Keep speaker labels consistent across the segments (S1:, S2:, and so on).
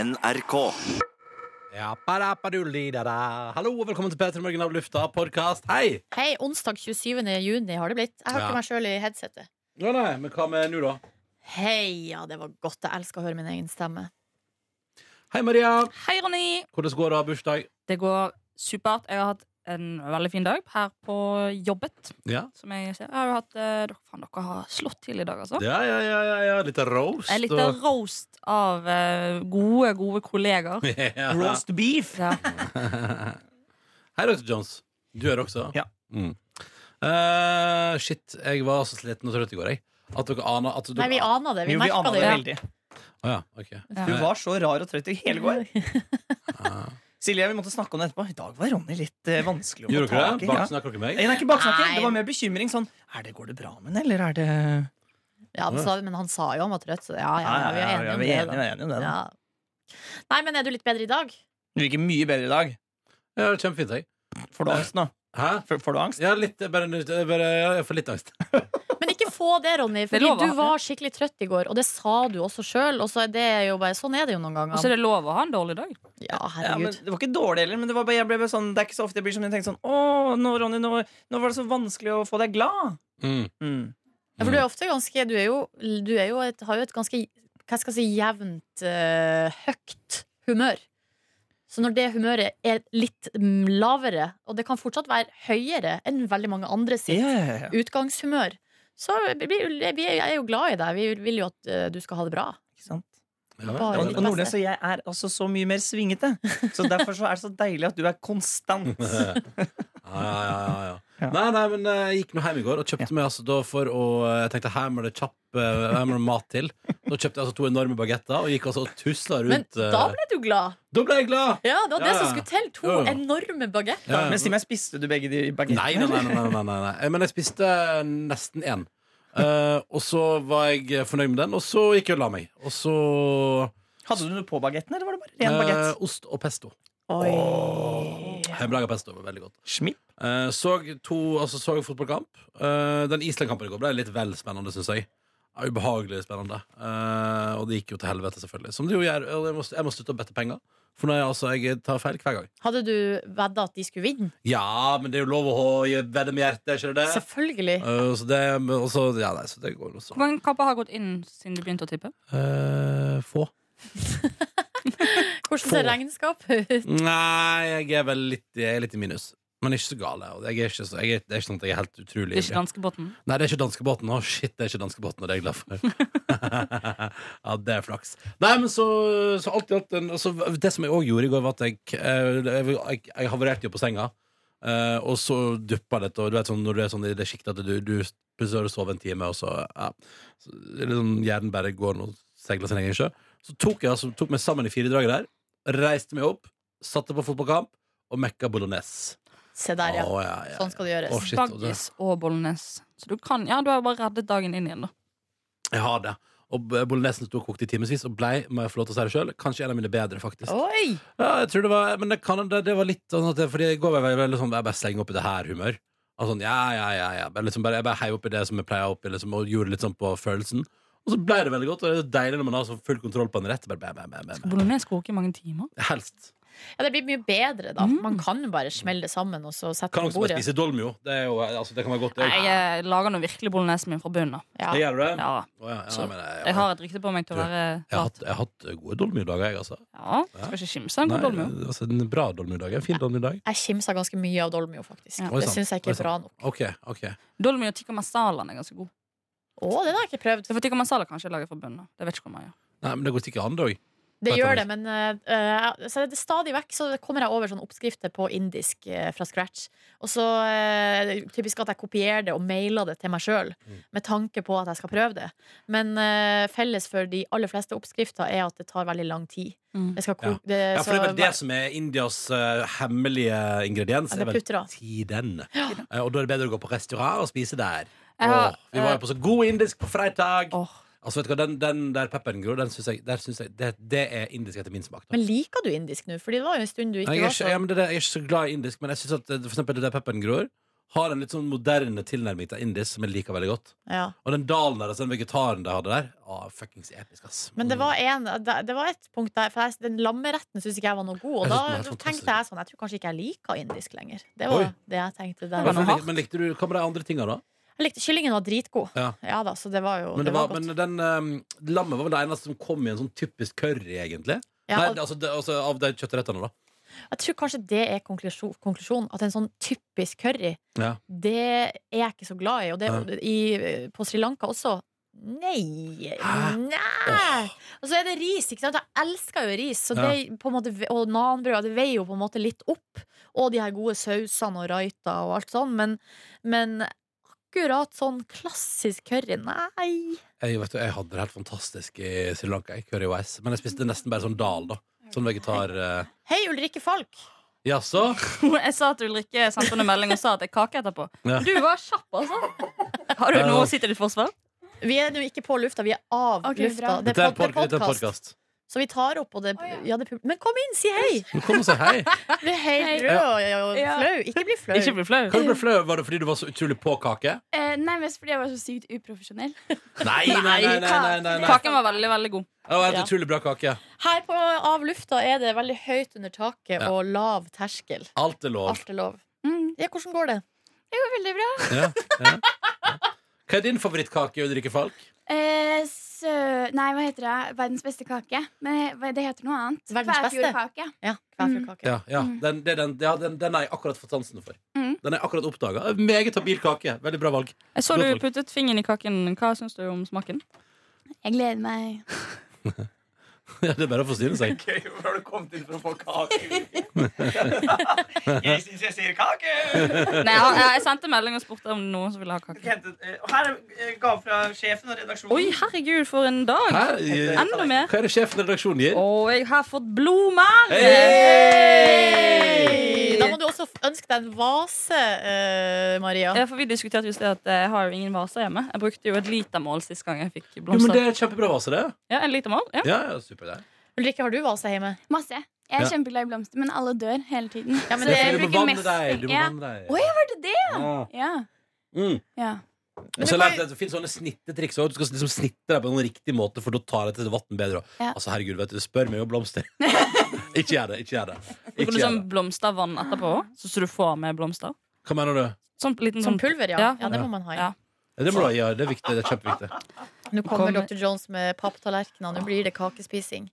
S1: NRK.
S2: Ja, ba-da-ba-du-li-da-da. Hallo og velkommen til P3 Morgen av lufta podcast. Hei!
S3: Hei, onsdag 27. juni har det blitt. Jeg hørte
S2: Ja.
S3: meg sjøl i headsetet.
S2: Ja, nei, men hva med nå, da?
S3: Heia, det var godt. Jeg elsker å høre min egen stemme.
S2: Hei, Maria!
S4: Hei, Ronny!
S2: Hvordan går det å ha bursdag?
S4: Det går supert. Jeg har hatt en veldig fin dag her på jobbet.
S2: Ja.
S4: Som jeg ser. Jeg har jo hatt, eh, dere, faen, dere har slått til i dag, altså.
S2: Ja, ja, ja, ja, ja. Litt roast.
S4: En liten eh, roast av eh, gode, gode kollegaer.
S2: ja.
S5: Roast beef.
S4: Ja.
S2: Hei, Dr. Jones. Du er det også?
S5: Ja.
S2: Mm. Eh, shit, jeg var så sliten og trøtt i går, jeg. At dere aner at dere...
S3: Nei, vi aner det. Vi
S5: Jo, vi
S3: merker
S5: aner
S3: det.
S5: det
S4: ja.
S5: veldig.
S2: Å, ja, ok.
S4: Ja.
S5: Du var så rar og trøtt i hele går. Silje, vi måtte snakke om det etterpå. I dag var Ronny litt eh, vanskelig å få
S2: Gjorde dere
S5: tak
S2: det?
S5: i. Ja.
S2: Baksnakket dere meg?
S5: Nei, det er ikke baksnakking.
S3: Nei.
S5: Det var mer bekymring. Sånn er det, Går det bra med den, eller er det
S3: Ja, han sa, men han sa jo han var trøtt, så ja, ja, ja vi er enige om
S5: vi er
S3: det.
S5: enige, vi er enige om
S3: Da.
S5: det. da.
S3: Ja. Nei, men er du litt bedre i dag?
S5: Du virker mye bedre i dag.
S2: Ja, det er kjempefint, jeg.
S5: Får du angst nå?
S2: Hæ?
S5: Får- Får du angst?
S2: Ja, litt, bare, bare, jeg får litt angst.
S3: Men ikke få det, Ronny,
S4: Det
S3: Fordi
S4: lover
S3: du
S4: han,
S3: var skikkelig trøtt i går, og det sa du også sjøl. Og så er det jo bare, sånn er det jo noen
S4: Og så
S3: ganger.
S4: er det lov å ha en dårlig dag.
S3: Ja,
S5: Ja, men
S3: herregud.
S5: det var ikke dårlig heller, men det, var bare, jeg ble bare sånn, det er ikke så ofte jeg blir som jeg tenkte sånn Å, nå, Ronny, nå, nå var det så vanskelig å få deg glad.
S2: Mm.
S5: Mm.
S3: Ja, for du er ofte ganske Du, er jo, du er jo et, har jo et ganske hva skal jeg si, jevnt eh, høyt humør. Så når det humøret er litt mm, lavere, og det kan fortsatt være høyere enn veldig mange andre sitt
S5: Ja, ja, ja.
S3: utgangshumør, så blir- blir- vi er- jeg er jo glad i deg. Vi vil jo at eh, du skal ha det bra.
S5: Ikke sant?
S2: Ja,
S3: Bare
S5: Og,
S3: ditt
S5: og Nordnes
S3: beste.
S5: og jeg er altså så mye mer svingete. Så derfor så er det så deilig at du er konstant.
S2: ja, ja, ja, ja.
S5: Ja.
S2: Nei, nei, men eh, jeg gikk nå hjem i går og kjøpte meg altså da for å eh, Jeg tenkte her må det kjapp eh, her må det mat til. Da kjøpte jeg altså to enorme bagetter og gikk altså og tusla
S3: Men
S2: rundt.
S3: da
S2: eh,
S3: ble du glad!
S2: da ble jeg glad!
S3: Ja, det var det
S2: Ja,
S3: som
S2: ja.
S3: skulle til. To
S2: Jo, jo.
S3: enorme bagetter.
S2: Ja, ja.
S5: Men si meg, spiste du begge de bagettene?
S2: Nei, nei, nei, nei, nei, nei, nei. Men jeg spiste nesten én. Eh, og så var jeg fornøyd med den, og så gikk jeg og la meg. Og så
S5: Hadde du noe på bagetten, eller var det bare ren
S2: eh,
S5: bagett?
S2: ost og pesto.
S3: Oi.
S2: Hjemmelaga pesto var veldig godt.
S5: Schmidt?
S2: Eh, så to, altså, så fotballkamp. Eh, den Island-kampen i går ble litt vel spennende, syns jeg. Ja, Ubehagelig spennende. Eh, og det gikk jo til helvete, selvfølgelig. Som det jo gjør. og Jeg må, jeg må slutte å bette penger. For når jeg, altså, jeg tar feil hver gang.
S3: Hadde du vedda at de skulle vinne?
S2: Ja, men det er jo lov å gi- vedde med hjertet, er ikke det det?
S3: Selvfølgelig.
S2: Eh, så det, men også, ja, nei, så det går jo
S4: Hvor
S2: sånn.
S4: mange kapper har gått inn siden du begynte å tippe?
S2: Eh, få.
S3: Hvordan ser regnskapet ut?
S2: Nei, jeg er vel litt, jeg er litt i minus. Men ikke så gal. jeg, og Jeg er ikke så, jeg er, det er ikke sånn at jeg er helt utrolig
S4: Det er ikke danskebåten.
S2: Nei, det er ikke danskebåten. Å, shit, det er ikke danskebåten, og det er jeg glad for. ja, det er flaks. Nei, men så, så alt i alt en- altså, Det som jeg òg gjorde i går, var at jeg, eh, jeg, jeg, jeg havarerte jo på senga. eh, og så duppa litt, og du vet sånn når du er sånn i det sjiktet at du, du plutselig har du sovet en time, og så, ja, så det er litt sånn, Hjernen bare går og seiler sin egen sjø. Så tok jeg altså, tok meg sammen i fire dager der, reiste meg opp, satte på fotballkamp og mekka bolognese.
S3: Se der, ja.
S2: Å, ja, ja,
S3: Sånn skal det gjøres.
S2: Å, shit, og det-
S4: Baggis og bollenes. Så du kan Ja, du har bare reddet dagen inn igjen, da.
S2: Jeg har det. Og b- bolognesen sto og kokte i timevis og blei, må jeg få lov til å si det selv, kanskje en av mine bedre, faktisk.
S3: Oi!
S2: Ja, jeg tror det var, men det, kan, det, det var litt sånn at det, Fordi i går var jeg veldig sånn Jeg bare slenger oppi det her humør. Altså, sånn, ja, ja, ja, ja. Bare, liksom, bare, jeg bare heier oppi det som jeg pleier oppi, liksom, og gjorde litt sånn på følelsen. Og så blei det veldig godt, og det er deilig når man har så full kontroll på en rett. Bare, bæ, bæ, bæ, bæ, bæ.
S4: Bolognes koker i mange timer.
S2: Helst.
S3: Ja, det blir mye bedre da.
S4: Mm.
S3: Man kan jo bare smelle det sammen og så sette
S2: Kan
S3: det
S2: også
S3: på
S2: bare
S3: bordet.
S2: spise dolmio. Det, er jo, altså, det kan være godt, det.
S4: Jeg eh, lager nå virkelig bolognesen min fra bunnen av.
S3: Ja.
S2: Det Gjør du det?
S4: Ja.
S2: Å, ja, ja,
S4: Så,
S2: men jeg,
S4: Jeg har et rykte på meg til å
S2: Du,
S4: være
S2: jeg har
S4: lat.
S2: hatt, jeg har hatt gode dolmio-dager, jeg, altså.
S4: Ja, skal ikke kimse av en
S2: Nei,
S4: god dolmio.
S2: altså, en bra dolmio-dag. En fin dolmio-dag.
S3: Jeg kimsa ganske mye av Dolmio, faktisk.
S4: Ja.
S2: Oi,
S3: Det
S2: sant.
S3: syns jeg
S2: Oi,
S3: ikke er
S2: sant.
S3: bra nok.
S2: OK. ok
S4: Dolmi og tikka masalaen er ganske god.
S3: Å, den har jeg ikke prøvd.
S4: Så for tikka masala kanskje jeg lager fra bunnen av. Det vet ikke hvor mye.
S2: Nei, men det går ikke an, da.
S3: Det
S2: Vet
S3: gjør
S2: du
S3: det, men eh, eh, så det, stadig vekk så kommer jeg over sånne oppskrifter på indisk eh, fra scratch. Og så eh, det er typisk at jeg kopierer det og mailer det til meg sjøl
S2: Mm.
S3: med tanke på at jeg skal prøve det. Men eh, felles for de aller fleste oppskrifter er at det tar veldig lang tid.
S4: Mm.
S3: Det skal
S2: Ja.
S3: koke det,
S2: Ja, for det er vel det
S3: så,
S2: som er Indias eh, hemmelige ingrediens.
S3: Ja,
S2: er
S3: det
S2: vel
S3: putter av.
S2: Tiden. Eh, og da er det bedre å gå på restaurant og spise der.
S4: Jeg har,
S2: Åh, vi
S3: eh,
S2: var jo på så god indisk på fredag.
S4: Åh,
S2: Altså, vet du hva, Den, den der pepperen gror, den syns jeg, der synes jeg det, det er indisk etter min smak. Da.
S3: Men liker du indisk nå? Fordi det var jo en stund du
S2: Nei, jeg,
S3: ikke
S2: er
S3: var
S2: ikke,
S3: så
S2: ja, men det der, jeg er ikke så glad i indisk, men jeg synes at eh, for eksempel det der pepperen gror, har en litt sånn moderne tilnærming til indis som jeg liker veldig godt.
S3: Ja.
S2: Og den dalen der, altså den vegetaren de hadde der, ah, fuckings episk, ass.
S3: Men det var, en, det var et punkt der For jeg, den lammeretten syns ikke jeg var noe god. Og
S2: Jeg
S3: da
S2: synes den var helt fantastisk.
S3: tenkte jeg sånn Jeg tror kanskje ikke jeg liker indisk lenger. Det
S2: Oi.
S3: var det jeg tenkte
S2: Mm.
S3: der.
S4: var noe
S2: Men-
S4: hardt.
S2: Men likte du, hva med de andre tinga, da?
S3: Jeg likte Kyllingen var dritgod.
S2: Ja.
S3: da, så det var jo
S2: Men, det var,
S3: godt.
S2: men den ehm, lammet var vel det eneste som kom i en sånn typisk curry, egentlig.
S3: ja,
S2: Nei,
S3: og
S2: altså, det, altså av de kjøttrettene, da.
S3: jeg tror kanskje det er konklusjon, konklusjonen. At en sånn typisk curry,
S2: Ja.
S3: det er jeg ikke så glad i. Og det, i, på Sri Lanka også. Nei!
S2: Hæ?
S3: Nei! Og så er det ris. ikke sant? Jeg elsker jo ris. Så det, på en måte, og nanbrød. Det veier jo på en måte litt opp. Og de her gode sausene og raita og alt sånn. Men, men akkurat sånn klassisk curry, nei.
S2: Jeg, vet, du, jeg hadde det helt fantastisk i Sri Lanka, jeg, curry og ice. Men jeg spiste nesten bare sånn dal, da. Sånn vegetar... eh,
S3: Hei, Ulrikke Falk!
S2: Jaså?
S4: Jeg sa at Ulrikke sendte henne en melding og sa at det er kake etterpå.
S2: Ja.
S4: Du var kjapp, altså. Har du noe å si til ditt forsvar?
S3: Vi er nå ikke på lufta, vi er av
S4: Ok,
S3: lufta.
S4: bra.
S3: Det
S2: Dette
S3: er,
S2: er
S3: pod, det er podkast.
S2: podkast.
S3: Så vi tar opp, og det,
S4: Å, ja.
S3: ja, det er pub- Men kom inn, si hei!
S2: Men kom og si hei.
S3: Bli helt
S1: Hei.
S3: rød og, og
S1: Ja.
S3: flau. Ikke bli flau.
S4: Ikke bli flau.
S2: Hva du ble flau? Var det fordi du var så utrolig på kake?
S1: Eh, nei, mest fordi jeg var så sykt uprofesjonell.
S2: Nei, nei, nei. nei, nei, nei, nei.
S4: Kaken var veldig, veldig god.
S2: Det var helt utrolig bra kake.
S3: Her på Av lufta er det veldig høyt under taket
S2: Ja.
S3: og lav terskel.
S2: Alt er lov.
S3: Alt er lov.
S1: Mm.
S3: Ja, hvordan går det?
S1: Det går veldig bra.
S2: Ja, ja. Hva er din favorittkake, Ulrikke Falk?
S1: Eh, sø... Nei, hva heter det? Verdens beste kake. Men eh, hva- det heter noe annet.
S3: Verdens beste?
S1: Kvæfjordkake.
S3: Ja,
S4: Mm.
S3: kvæfjordkake.
S2: Ja, ja. Den, det er den, ja, den, den har jeg akkurat fått sansen for.
S1: Mm.
S2: Den har jeg akkurat oppdaga. Meget habil kake. Veldig bra valg.
S4: Jeg så
S2: Godt
S4: du
S2: valg.
S4: puttet fingeren i kaken. Hva syns du om smaken?
S1: Jeg gleder meg.
S2: Ja, det er bare å forsyne seg.
S5: Gøy, hvor har du kommet inn for å få kake? jeg syns jeg sier kake!
S4: Nei, jeg, jeg sendte melding og spurte om noen som ville ha
S5: Jeg
S4: kake.
S5: hentet, eh, Og her er eh, gave fra sjefen og redaksjonen.
S4: Oi, herregud, for en dag!
S2: Hæ?
S4: Enda mer.
S2: Hva er det sjefen i redaksjonen gir?
S4: Og jeg har fått blomster!
S2: Hey!
S3: Da må du også ønske deg en vase, eh, Maria.
S4: Ja, for Vi diskuterte just det at eh, jeg har jo ingen vaser hjemme. Jeg brukte jo et litermål sist gang jeg fikk
S2: Jo, men
S4: blomster.
S2: det er kjempebra vase, det.
S4: Ja, en litermål, ja.
S2: Ja, ja, super det.
S3: Ulrikke, har du vase hjemme?
S1: Masse. Jeg er
S2: Ja.
S1: kjempeglad i blomster, men alle dør hele tiden.
S3: Ja, men
S1: Så
S3: det-
S1: jeg
S2: Du må
S1: bruker
S2: vanne
S1: liksom mest-
S2: deg. Du må
S1: Ja.
S2: vanne deg.
S1: Å, ja, var det det?
S2: Ja.
S1: Ja.
S2: Mm.
S1: ja.
S2: Og så har jeg lært at det finnes sånne snittetriks også. Du skal liksom snitte deg på noen riktig måte, for da tar jeg til vann bedre. også.
S1: Ja.
S2: Altså, herregud, vet du, spør meg om blomster. ikke gjør det. Ikke gjør det.
S4: Du
S2: Ikke
S4: får
S2: gjør
S4: liksom
S2: det.
S4: blomstervann etterpå òg, så så du får med blomster.
S2: Hva mener du?
S4: Sånn liten
S3: Som
S4: sånn
S3: pulver, ja.
S4: Ja.
S3: Ja, det må man ha. i.
S4: Ja.
S2: Ja, Det må du ha, ja, det er viktig. Det er kjempeviktig.
S3: Nå kommer
S4: Kommer.
S3: Dr. Jones med papptallerkener. Nå blir det kakespising.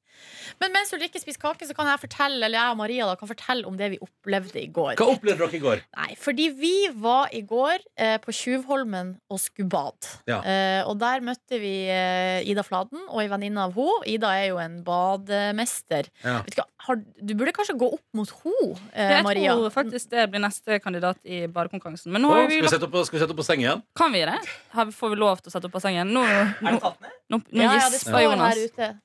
S3: Men mens Ulrikke spiser kake, så kan jeg fortelle Eller jeg og Maria da, kan fortelle om det vi opplevde i går.
S2: Hva opplevde dere i går?
S3: Nei, fordi vi var i går eh, på Tjuvholmen og skulle bade.
S2: Ja.
S3: Eh, og der møtte vi eh, Ida Fladen og ei venninne av henne. Ida er jo en bademester.
S2: Ja.
S3: Vet du, hva, har, du burde kanskje gå opp mot henne, eh,
S4: Jeg
S3: Maria.
S4: tror faktisk det blir neste kandidat i badekonkurransen. Men nå
S2: Å,
S4: har vi
S2: skal, vi sette opp, på- skal vi sette opp på sengen igjen?
S4: kan vi det? Har vi, får vi lov til å sette opp bassenget? Nå,
S5: Er
S4: nå,
S5: det tatt ned?
S4: nå,
S3: ja,
S4: nå
S3: ja, det
S4: gisper
S3: står
S4: Jonas.
S3: her ute.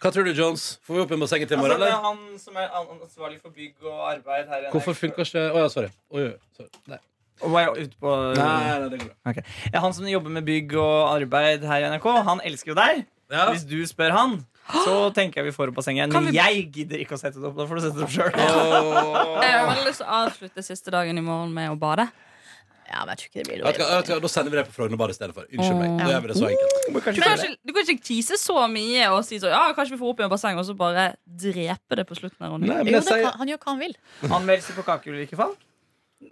S2: Hva tror du, Jones? Får vi opp en basseng til i morgen,
S5: Altså, det er
S2: eller?
S5: han som er an- ansvarlig for bygg og arbeid her i
S2: Hvorfor
S5: NRK.
S2: funker ikke Å ja, sorry. Oi, oi, sorry. Nei.
S5: Og var jeg ute på
S2: Nei, nei, det går bra.
S5: Ja, Han som jobber med bygg og arbeid her i NRK, han elsker jo deg.
S2: Ja.
S5: Hvis du spør han, så tenker jeg vi får opp bassenget.
S4: Kan
S5: Men
S4: vi-
S5: jeg gidder ikke å sette det opp. Da får du sette det opp sjøl.
S4: Jeg har veldig lyst til å avslutte siste dagen i morgen med å bade.
S3: Ja, men jeg tror ikke det blir
S2: Vet du hva, vet du
S3: lov.
S2: hva, da sender vi det på Frognerbadet i stedet for. Unnskyld meg.
S4: Åh.
S2: Da gjør vi det så enkelt.
S4: Du kan ikke, du kan ikke tease så mye og si så, ja, kanskje vi får opp igjen bassenget, og så bare drepe det på slutten. av runden.
S3: Jo, det kan, han gjør hva han vil.
S5: Anmeldelse på Kakeulrikke Falk?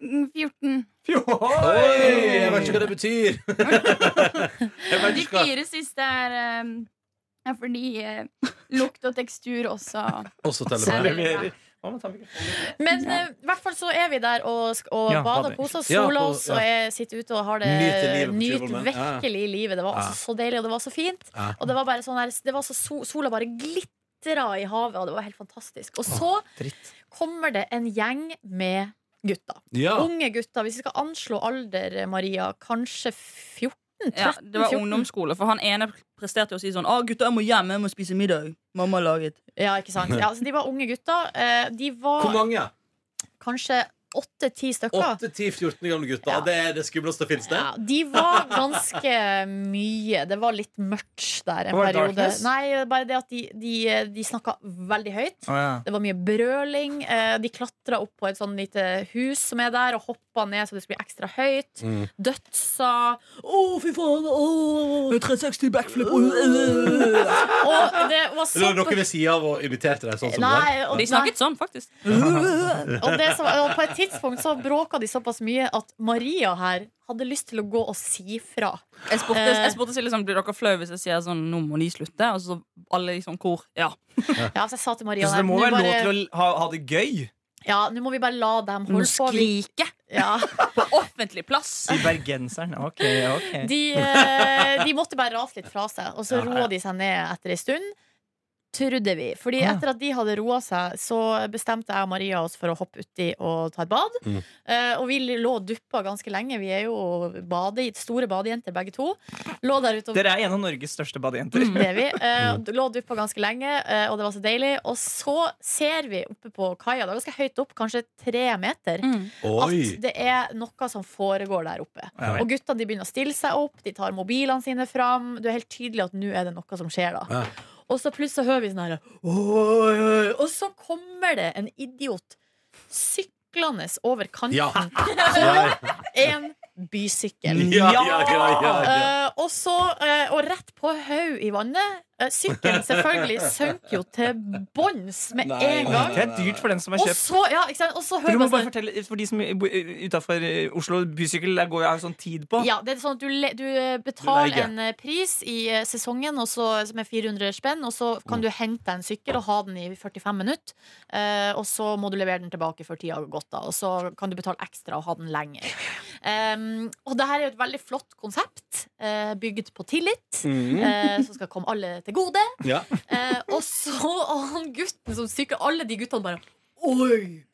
S1: Mm, 14.
S2: Oi, jeg vet ikke hva det betyr. jeg vet
S1: De
S2: ikke hva
S1: fire siste er um, ja, fordi eh, lukt og tekstur også
S2: Også telefon.
S5: Leverer. Hva med å ta mikrofonen?
S3: Men eh, i hvert fall så er vi der og, sk- og
S5: Ja,
S3: bader
S5: bader.
S3: og koser oss.
S2: Ja,
S3: Sola
S2: på-
S3: oss og er, sitter ute og har det
S2: Nyter livet på
S3: Nyt
S2: Tjuvholmen. Ja.
S3: virkelig livet. Det var
S2: Ja.
S3: altså så deilig, og det var så fint.
S2: Ja.
S3: Og det var bare sånn her, det var så so- sola bare glitra i havet, og det var helt fantastisk. Og så kommer det en gjeng med gutter.
S2: Ja.
S5: Ah.
S3: Unge gutter. Hvis vi skal anslå alder, Maria, kanskje 14? 13,
S4: Ja, det var
S3: 14.
S4: ungdomsskole, for han ene presterte jo å si sånn Å, gutta, jeg må hjem, jeg må spise middag. Mamma har laget.
S3: Ja, ikke sant? Ja, så de var unge gutter. Eh, De var
S2: Hvor mange?
S3: kanskje åtte-ti stykker.
S2: 8-10-14 gamle gutter.
S3: Ja.
S2: Det er det skumleste fins, det.
S3: Ja, de var ganske mye. Det var litt mørkt der en
S5: Var det
S3: periode.
S5: darkness?
S3: Nei, bare det at de, de, de snakka veldig høyt.
S5: Å, ja.
S3: Det var mye brøling. Eh, De klatra opp på et sånn lite hus som er der, og hoppa ned så det skulle bli ekstra høyt.
S2: Mm.
S3: Dødsa. Å, fy faen! Å!
S5: 360 backflip
S3: Og det var
S2: Eller
S3: så
S2: var det noen ved sida av og imiterte deg sånn som det?
S3: Nei, og,
S4: De snakket sånn, faktisk.
S3: nei. Og, det som, og på et tidspunkt så bråka de såpass mye at Maria her hadde lyst til å gå og si fra.
S4: Jeg spurte,
S3: Eh.
S4: jeg spurte Silje sånn, blir dere flau hvis jeg sier sånn, nå må de slutte? Og så alle i sånn kor. Ja.
S3: Ja, så jeg sa til Maria
S5: Så det må
S3: «Nå
S5: være lov
S3: bare-
S5: til å ha, ha det gøy
S3: Ja, nå må vi bare la dem
S4: Må
S3: holde på. Vi,
S4: skrike
S3: ja.
S4: på offentlig plass.
S5: I bergenseren, ok, ok
S3: de, eh, de måtte bare rase litt fra seg, og så
S5: Ja, ja.
S3: roa de seg ned etter ei stund. Trodde vi. Fordi
S5: Ja.
S3: etter at de hadde roa seg, så bestemte jeg og Maria oss for å hoppe uti og ta et bad.
S2: Mm.
S3: Eh, og vi lå og duppa ganske lenge. Vi er jo bade, store badejenter begge to. Lå der ute og
S5: Dere er en av Norges største badejenter
S3: det er vi. Eh, lå og duppa ganske lenge, eh, og det var så deilig. Og så ser vi oppe på kaia, det var ganske høyt opp, kanskje tre meter.
S4: Mm.
S2: Oi!
S3: at det er noe som foregår der oppe.
S5: Ja,
S3: Og gutta de begynner å stille seg opp, de tar mobilene sine fram. Du er helt tydelig at nå er det noe som skjer, da.
S2: Ja.
S3: Og så plutselig hører vi sånn her «Oi, oi», Og så kommer det en idiot syklende over kanten
S2: Ja.
S3: på en bysykkel.
S2: Ja, ja, ja, ja, ja.
S3: Eh, og så, eh, og rett på haug i vannet. Eh, sykkelen selvfølgelig sank jo til bånns med
S2: Nei,
S3: en
S2: nei,
S3: gang.
S5: Det er dyrt for den som har
S3: Og
S5: kjøpt
S3: så, ja, ikke sant? Og så
S5: Du
S3: hører man
S5: må
S3: sånn
S5: bare fortelle, for de som bor utenfor Oslo Bysykkel, der går jeg sånn tid på
S3: Ja, det er sånn at du, le, du eh, betaler
S2: Du leier.
S3: en eh, pris i eh, sesongen og så- som er 400 spenn, og så kan du hente deg en sykkel og ha den i 45 minutter. eh, og så må du levere den tilbake før tida har gått, da. Og så kan du betale ekstra og ha den lenger. Um, og det her er jo et veldig flott konsept, eh, bygd på tillit,
S2: Mm.
S3: eh, som skal komme alle til gode.
S2: Ja.
S3: Eh, og så og han gutten som sykler, alle de guttene bare Oi!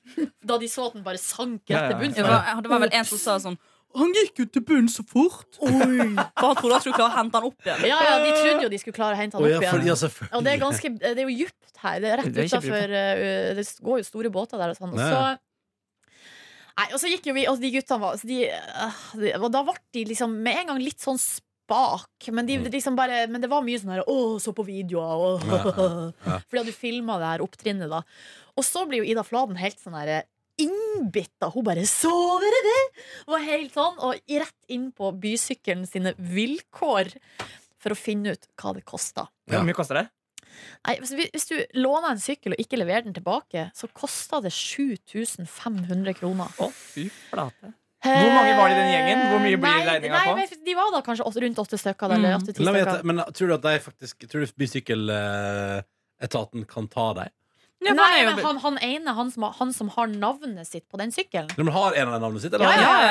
S3: Da de så at den bare sank
S5: Ja, ja,
S3: rett til
S5: ja.
S3: bunns.
S4: Det var, det var vel en som sa sånn Han gikk ut til bunnen så fort. For han trodde han skulle klare å hente han opp igjen.
S3: Ja, ja, De trodde jo de skulle klare å hente han
S2: Å, ja,
S3: opp igjen.
S2: for, ja, selvfølgelig.
S3: Og det er, ganske, det er jo djupt her. Det er rett
S5: Det er
S3: utenfor uh, Det går jo store båter der og sånn. Og
S2: Ja,
S3: så,
S2: ja.
S3: nei, og så gikk jo vi Og de guttene var så de, øh, de, Og da ble de liksom med en gang litt sånn spak. Men, de, liksom bare, men det var mye sånn her Å, så på videoer. Og,
S2: Mm. ja.
S3: Fordi at du filma det her opptrinnet, da. Og så blir jo Ida Fladen helt sånn her innbitta. Hun bare 'Så dere det?' Og helt sånn. Og i- rett inn på bysykkelen sine vilkår for å finne ut hva det kosta.
S5: Hvor mye koster det?
S3: Nei, hvis, vi- hvis du låner en sykkel og ikke leverer den tilbake, så koster det 7500 kroner.
S5: Å, fy flate Hvor mange var det i den gjengen? Hvor mye blir
S3: Nei,
S5: regningen
S3: nei,
S5: på?
S3: men De var da kanskje åtte- rundt åtte stykker.
S4: Mm.
S3: Eller åtte-ti
S2: Nei, men,
S3: stykker.
S2: jeg- men tror du at de faktisk Tror du bysykkeletaten kan ta deg?
S4: Ja, for
S3: Nei,
S4: han er jo-
S3: men han, han ene, han som, har- han som har navnet sitt på den sykkelen.
S2: Når man har en av de navnet sitt? Eller?
S3: Ja, ja, ja,
S4: ja,
S3: ja,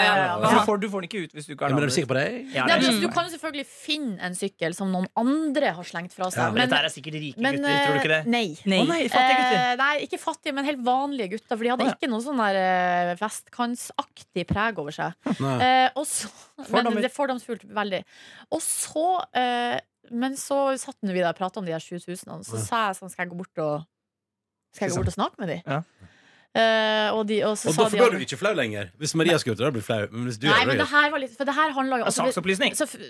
S3: ja.
S5: Altså, du, får, du får den ikke ut hvis du ikke
S2: Ja,
S5: har
S2: men er du
S5: navnet
S2: sikker på det?
S5: Ja,
S3: Nei,
S5: det
S3: men,
S5: er
S3: altså, du kan jo selvfølgelig finne en sykkel som noen andre har slengt fra seg.
S2: Ja,
S5: Men
S3: men,
S5: dette her er sikkert rike
S3: men,
S5: gutter, tror du ikke det?
S3: eh, Nei.
S4: Nei.
S5: Å nei, fattige gutter
S3: Eh, nei, ikke fattige, men helt vanlige gutter. For de hadde
S5: Å, ja.
S3: ikke noe sånn der eh, vestkantsaktig preg over seg.
S2: Nei.
S3: Eh, og så,
S5: Fordommer.
S3: men det er fordomsfullt, veldig. Og så eh, Men så satt nå vi der og prata om de her 7000, så
S2: Ja.
S3: sa jeg sånn Skal jeg gå bort og Skal jeg gå bort og snakke med de?
S5: Ja.
S3: Eh, og, de og så
S2: Og da
S3: sa de
S2: blir du ikke flau lenger. Hvis Maria skulle gjort det, da blir du flau. Men hvis du
S3: Nei,
S2: gjør det,
S3: men
S2: da
S3: det her var litt For det her handla jo
S5: Ja,
S3: altså, det-
S5: Saksopplysning
S3: så f-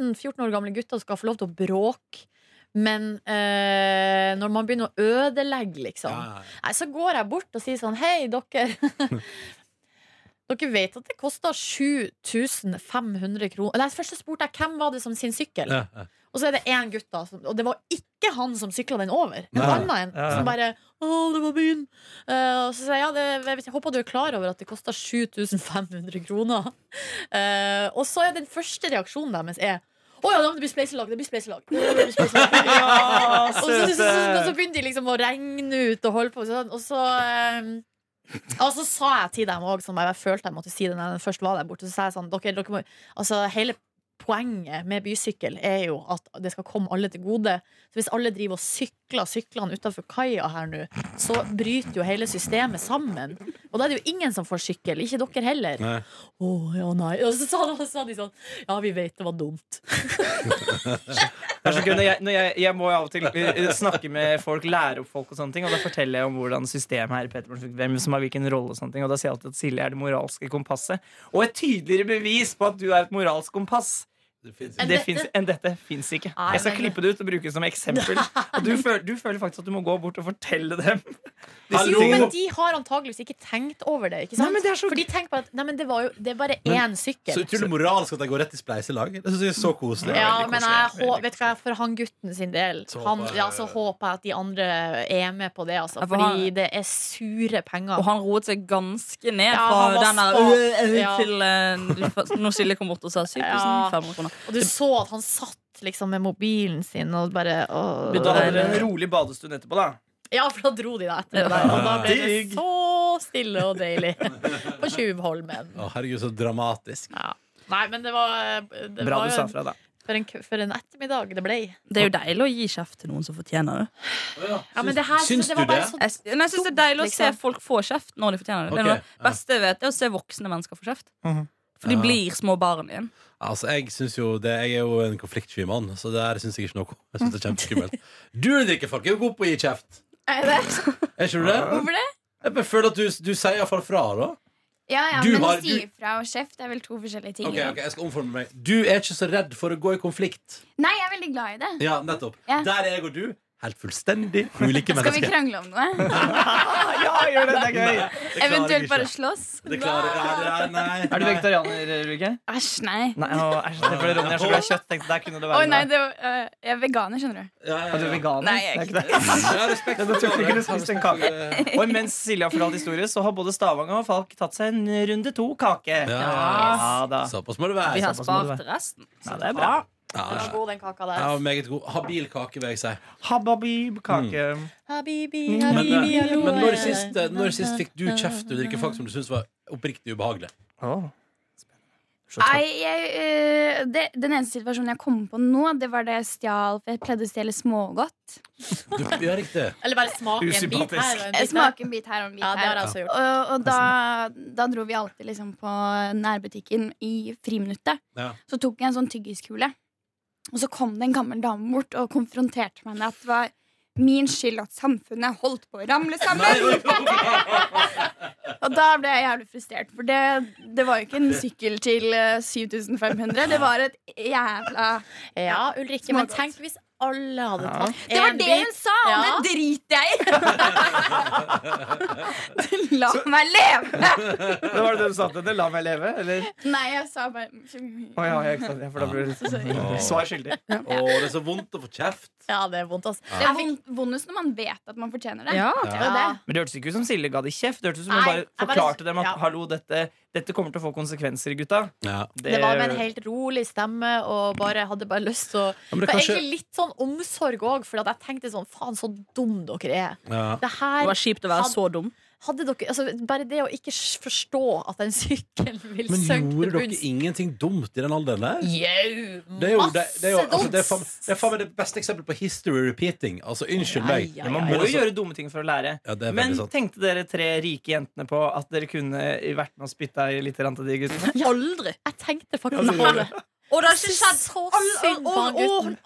S3: 13-14 år gamle gutter skal få lov til å bråke, men eh, når man begynner å ødelegge, liksom
S2: Ja, ja.
S3: Nei, så går jeg bort og sier sånn Hei, dere Dere vet at det koster 7500 kroner Nei, først så spurte jeg hvem var det som sin sykkel
S2: Ja, ja.
S3: Og så er det en gutt da som, Og det var ikke han som syklet den over En
S2: Nei.
S3: annen en
S5: Ja, ja.
S3: som bare Åh, det var byen Eh, Og så sier jeg, ja, det, jeg, vet, jeg håper du er klar over at det koster 7500 kroner Eh, Og så er den første reaksjonen deres er Åja, det blir spleiselag, det blir spleiselag Det blir spleiselag
S5: Ja,
S3: og så, så, så,
S5: søte
S3: så, så begynte de liksom å regne ut og holde på sånn. Og så, ehm, og så sa jeg til dem òg, som jeg følte jeg måtte si det når jeg først var der borte, så sa jeg sånn dere, dere må, altså, Hele poenget med bysykkel er jo at det skal komme alle til gode. Så hvis alle driver og sykler syklene utafor kaia her nå, så bryter jo hele systemet sammen. Og da er det jo ingen som får sykkel. Ikke dere heller.
S2: Nei.
S3: Å ja, nei. Og så sa, så sa de sånn Ja, vi vet det var dumt.
S5: Det er så gøy, når jeg, når jeg, jeg må jo av og til eh, snakke med folk, lære opp folk, og sånne ting Og da forteller jeg om hvordan systemet her i Peterborn fungerer, hvem som har hvilken rolle. Og sånne ting Og da sier jeg alltid at Silje er det moralske kompasset. Og et tydeligere bevis på at du er et moralsk kompass
S2: Det finnes ikke.
S3: Enn
S5: det
S3: dette? Ah,
S5: finnes, enn dette fins ikke.
S3: Nei,
S5: Jeg skal
S3: men-
S5: klippe det ut og bruke det som eksempel. Og du føler, du føler faktisk at du må gå bort og fortelle dem.
S3: Jo, men
S2: Hallo!
S3: de har antageligvis ikke tenkt over det. Ikke sant?
S5: Nei, men det er så-
S3: For de tenker på at Nei, men det var jo det er bare
S2: Men-
S3: én
S2: Så
S3: sykkel.
S2: utrolig moralsk at de går rett i spleiselag. Det synes jeg er så koselig.
S3: Ja,
S5: veldig
S3: men
S5: koselig,
S3: jeg,
S5: veldig
S3: hå- vet du hva, for han gutten sin del
S2: Så
S3: han,
S2: håper jeg-
S3: ja, så håper jeg at de andre er med på det, altså.
S4: Ja, for
S3: Fordi
S4: han-
S3: det er sure penger.
S4: Og han roet seg ganske ned
S3: Ja,
S4: fra
S3: han var
S4: den der
S3: sta.
S4: øh, øh,
S3: Ja.
S4: til øh, Når Silje kom bort og sa 7500 kroner.
S3: Og du så at han satt liksom med mobilen sin og bare og,
S5: Men da hadde dere en rolig badestund etterpå, da.
S3: Ja, for da dro de deg etter det der. Og da ble det
S5: Digg.
S3: så stille og deilig på Tjuvholmen.
S2: Å, herregud, så dramatisk.
S3: Ja. Nei, men det var, det
S5: Bra
S3: var
S5: du
S3: jo
S5: sa
S3: en,
S5: fra, da.
S3: for, en, for en ettermiddag det ble.
S4: Det er jo deilig å gi kjeft til noen som fortjener det.
S3: Ja, men det her,
S2: Syns
S3: det
S2: du
S3: var bare sånn-
S2: det?
S3: så
S4: Jeg, sy- men jeg synes det er deilig å se
S3: Liksom.
S4: folk få kjeft når de fortjener det. Det er
S2: Ok,
S4: noe av det beste jeg vet, er å se voksne mennesker få kjeft.
S5: Mhm.
S4: For de
S2: Ja.
S4: blir små barn igjen.
S2: Altså, jeg synes jo det, Jeg er jo en konfliktsky mann, så det her syns jeg ikke noe om. Jeg synes det er kjempeskummelt. Du drikker, folk, er jo god på å gi kjeft.
S1: Er det?
S2: Er ikke du det?
S4: Hvorfor det?
S2: Jeg bare føler at du, du sier iallfall fra, da.
S1: Ja, ja,
S2: Du
S1: men
S2: har-
S1: å si fra og kjeft er vel to forskjellige ting.
S2: Ok, ok, jeg skal omforme meg Du er ikke så redd for å gå i konflikt.
S1: Nei, jeg er veldig glad i det.
S2: Ja, nettopp.
S1: Ja.
S2: Der er jeg og du helt fullstendig ulike
S1: Skal vi
S2: mennesker.
S1: krangle om noe?
S5: Ah, ja, gjør
S2: Det
S5: det! Det er gøy.
S2: klarer jeg
S1: Eventuelt
S2: ikke.
S1: bare slåss?
S2: Det klarer jeg ja, det er- Nei.
S5: Er du
S2: nei.
S5: vegetarianer, Ulrikke?
S1: Æsj, nei.
S5: Nei, å, æsj, det er fordi Ronny er så glad i kjøtt. Tenkte, der kunne det
S1: Å
S5: være
S1: nei,
S5: noe.
S1: det, øh, jeg er veganer, skjønner du.
S2: Ja, ja,
S5: Er du
S2: ja.
S5: veganer?
S1: Nei, jeg er
S5: Det ikke det.
S2: Jeg har respekt for
S5: Jeg trodde ikke
S2: Jeg
S5: du
S2: har
S5: spiste en
S2: respekt for-
S5: Og mens Silje har fortalt historie, så har både Stavanger og Falk tatt seg en runde to kake.
S2: Ja.
S5: Ja da.
S2: Såpass må det være.
S4: Vi har
S5: såpass må det
S4: spart resten.
S5: Ja, det er bra.
S2: Ja,
S3: Den var
S2: ja.
S3: god, den kaka der.
S2: ja, meget god. Habil kake, vil jeg si.
S5: Hababib-kake.
S3: Habibi,
S2: Men,
S3: habibi,
S2: eh,
S3: hallo,
S2: men når,
S3: eh.
S2: sist, når sist fikk du kjeft og drikke folk som du syntes var oppriktig ubehagelig?
S5: Åh.
S1: Nei, jeg, øh, det, den eneste situasjonen jeg kom på nå, det var det jeg stjal For jeg pleide å stjele smågodt.
S2: Du, ja, riktig.
S3: Eller bare smake en bit
S5: Usympatisk.
S3: her og en
S1: Jeg
S3: bit der.
S1: smaker en bit her og en bit
S3: Ja, det har
S1: her.
S3: jeg også gjort.
S1: Eh, Og, og da, da dro vi alltid liksom på nærbutikken i friminuttet.
S2: Ja.
S1: Så tok jeg en sånn tyggiskule, og så kom det en gammel dame bort og konfronterte meg med at det var min skyld at samfunnet holdt på å ramle sammen. Og da ble jeg jævlig frustrert, for det, det var jo ikke en sykkel til eh, 7500. Det var et jævla
S3: Ja, Ulrikke, men
S1: Smågodt.
S3: tenk hvis alle hadde
S5: Ja.
S3: tatt
S1: Det var
S3: en
S1: det
S3: bit.
S1: hun sa!
S3: Ja.
S1: Det driter jeg i! La meg leve!
S5: Det var det du sa til henne? La meg leve? Eller?
S1: Nei, jeg sa bare
S5: Å ja, ja, ikke sant. Ja, for da blir
S1: Så sorry.
S5: det Svar skyldig.
S2: Å, det er så vondt å få kjeft.
S3: Ja, det er vondt, ass.
S1: Det er vond- vondest når man vet at man fortjener det. Det er jo det.
S5: Men det hørtes ikke ut som Silje ga de kjeft. Det hørtes ut som hun
S3: Nei,
S5: bare
S3: jeg bare-
S5: forklarte dem at
S3: ja.
S5: hallo, dette, dette kommer til å få konsekvenser, gutta.
S2: Ja.
S5: Det-
S3: Det var med en helt rolig stemme og bare hadde bare lyst til å
S2: men det
S3: Det var
S2: kanskje-
S3: egentlig litt sånn omsorg òg, for at jeg tenkte sånn faen, så dum dere er.
S2: Ja.
S3: Det
S4: Det
S3: her
S4: var kjipt å være
S3: Hadde-
S4: så dum.
S3: hadde dere altså, Bare det å ikke s- forstå at en sykkel vil
S2: Men
S3: synke
S2: gjorde
S3: til
S2: dere
S3: bunns.
S2: ingenting dumt i den alderen der?
S3: Jau!
S2: Det er jo det, det, er jo,
S3: Masse
S2: altså, det, er faen,
S3: dumt!
S2: det er faen meg det beste eksempelet på history repeating. Altså, unnskyld meg.
S3: Ja, ja,
S5: Men man
S2: Men
S3: ja,
S5: må jo
S2: altså-
S5: gjøre dumme ting for å lære.
S2: Ja, det er
S5: Men
S2: veldig sant.
S5: tenkte dere tre rike jentene på at dere kunne vært med og spytta i litt grann til de guttene?
S4: Aldri.
S3: Jeg tenkte faktisk på det.
S4: Og det har ikke
S3: Jeg
S4: skjedd
S3: synes så synd på han gutten.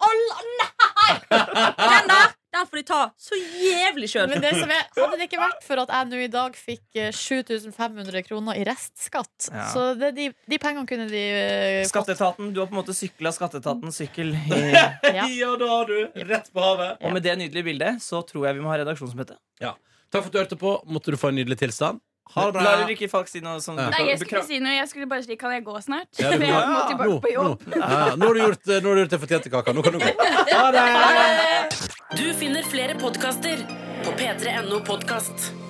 S4: Den der! Den får de ta så jævlig sjøl.
S3: Men det som er, hadde det ikke vært for at jeg nå i dag fikk eh, 7500 kroner i restskatt,
S5: Ja.
S3: så det, de, de pengene kunne de eh, fått.
S5: Skatteetaten, du har på en måte sykla skatteetatens sykkel.
S3: Ja.
S2: Ja, da har du rett på havet.
S5: Og med det nydelige bildet så tror jeg vi må ha redaksjonsmøte.
S2: Takk for at du hørte på. Måtte du få en nydelig tilstand. Ha det
S5: La
S2: bra.
S5: ikke folk si noe sånn- som
S2: Ja.
S1: Nei, jeg skulle
S5: Bekra-
S1: si noe. Jeg skulle bare si 'kan jeg gå snart?'
S2: Ja,
S1: For
S2: det-
S1: jeg må tilbake på jobb.
S2: Nå, nå. Ja, nå har du gjort, nå har du gjort det fortjente kaka. Nå kan du gå. Ha det!
S6: Du finner flere podkaster på p3.no podkast.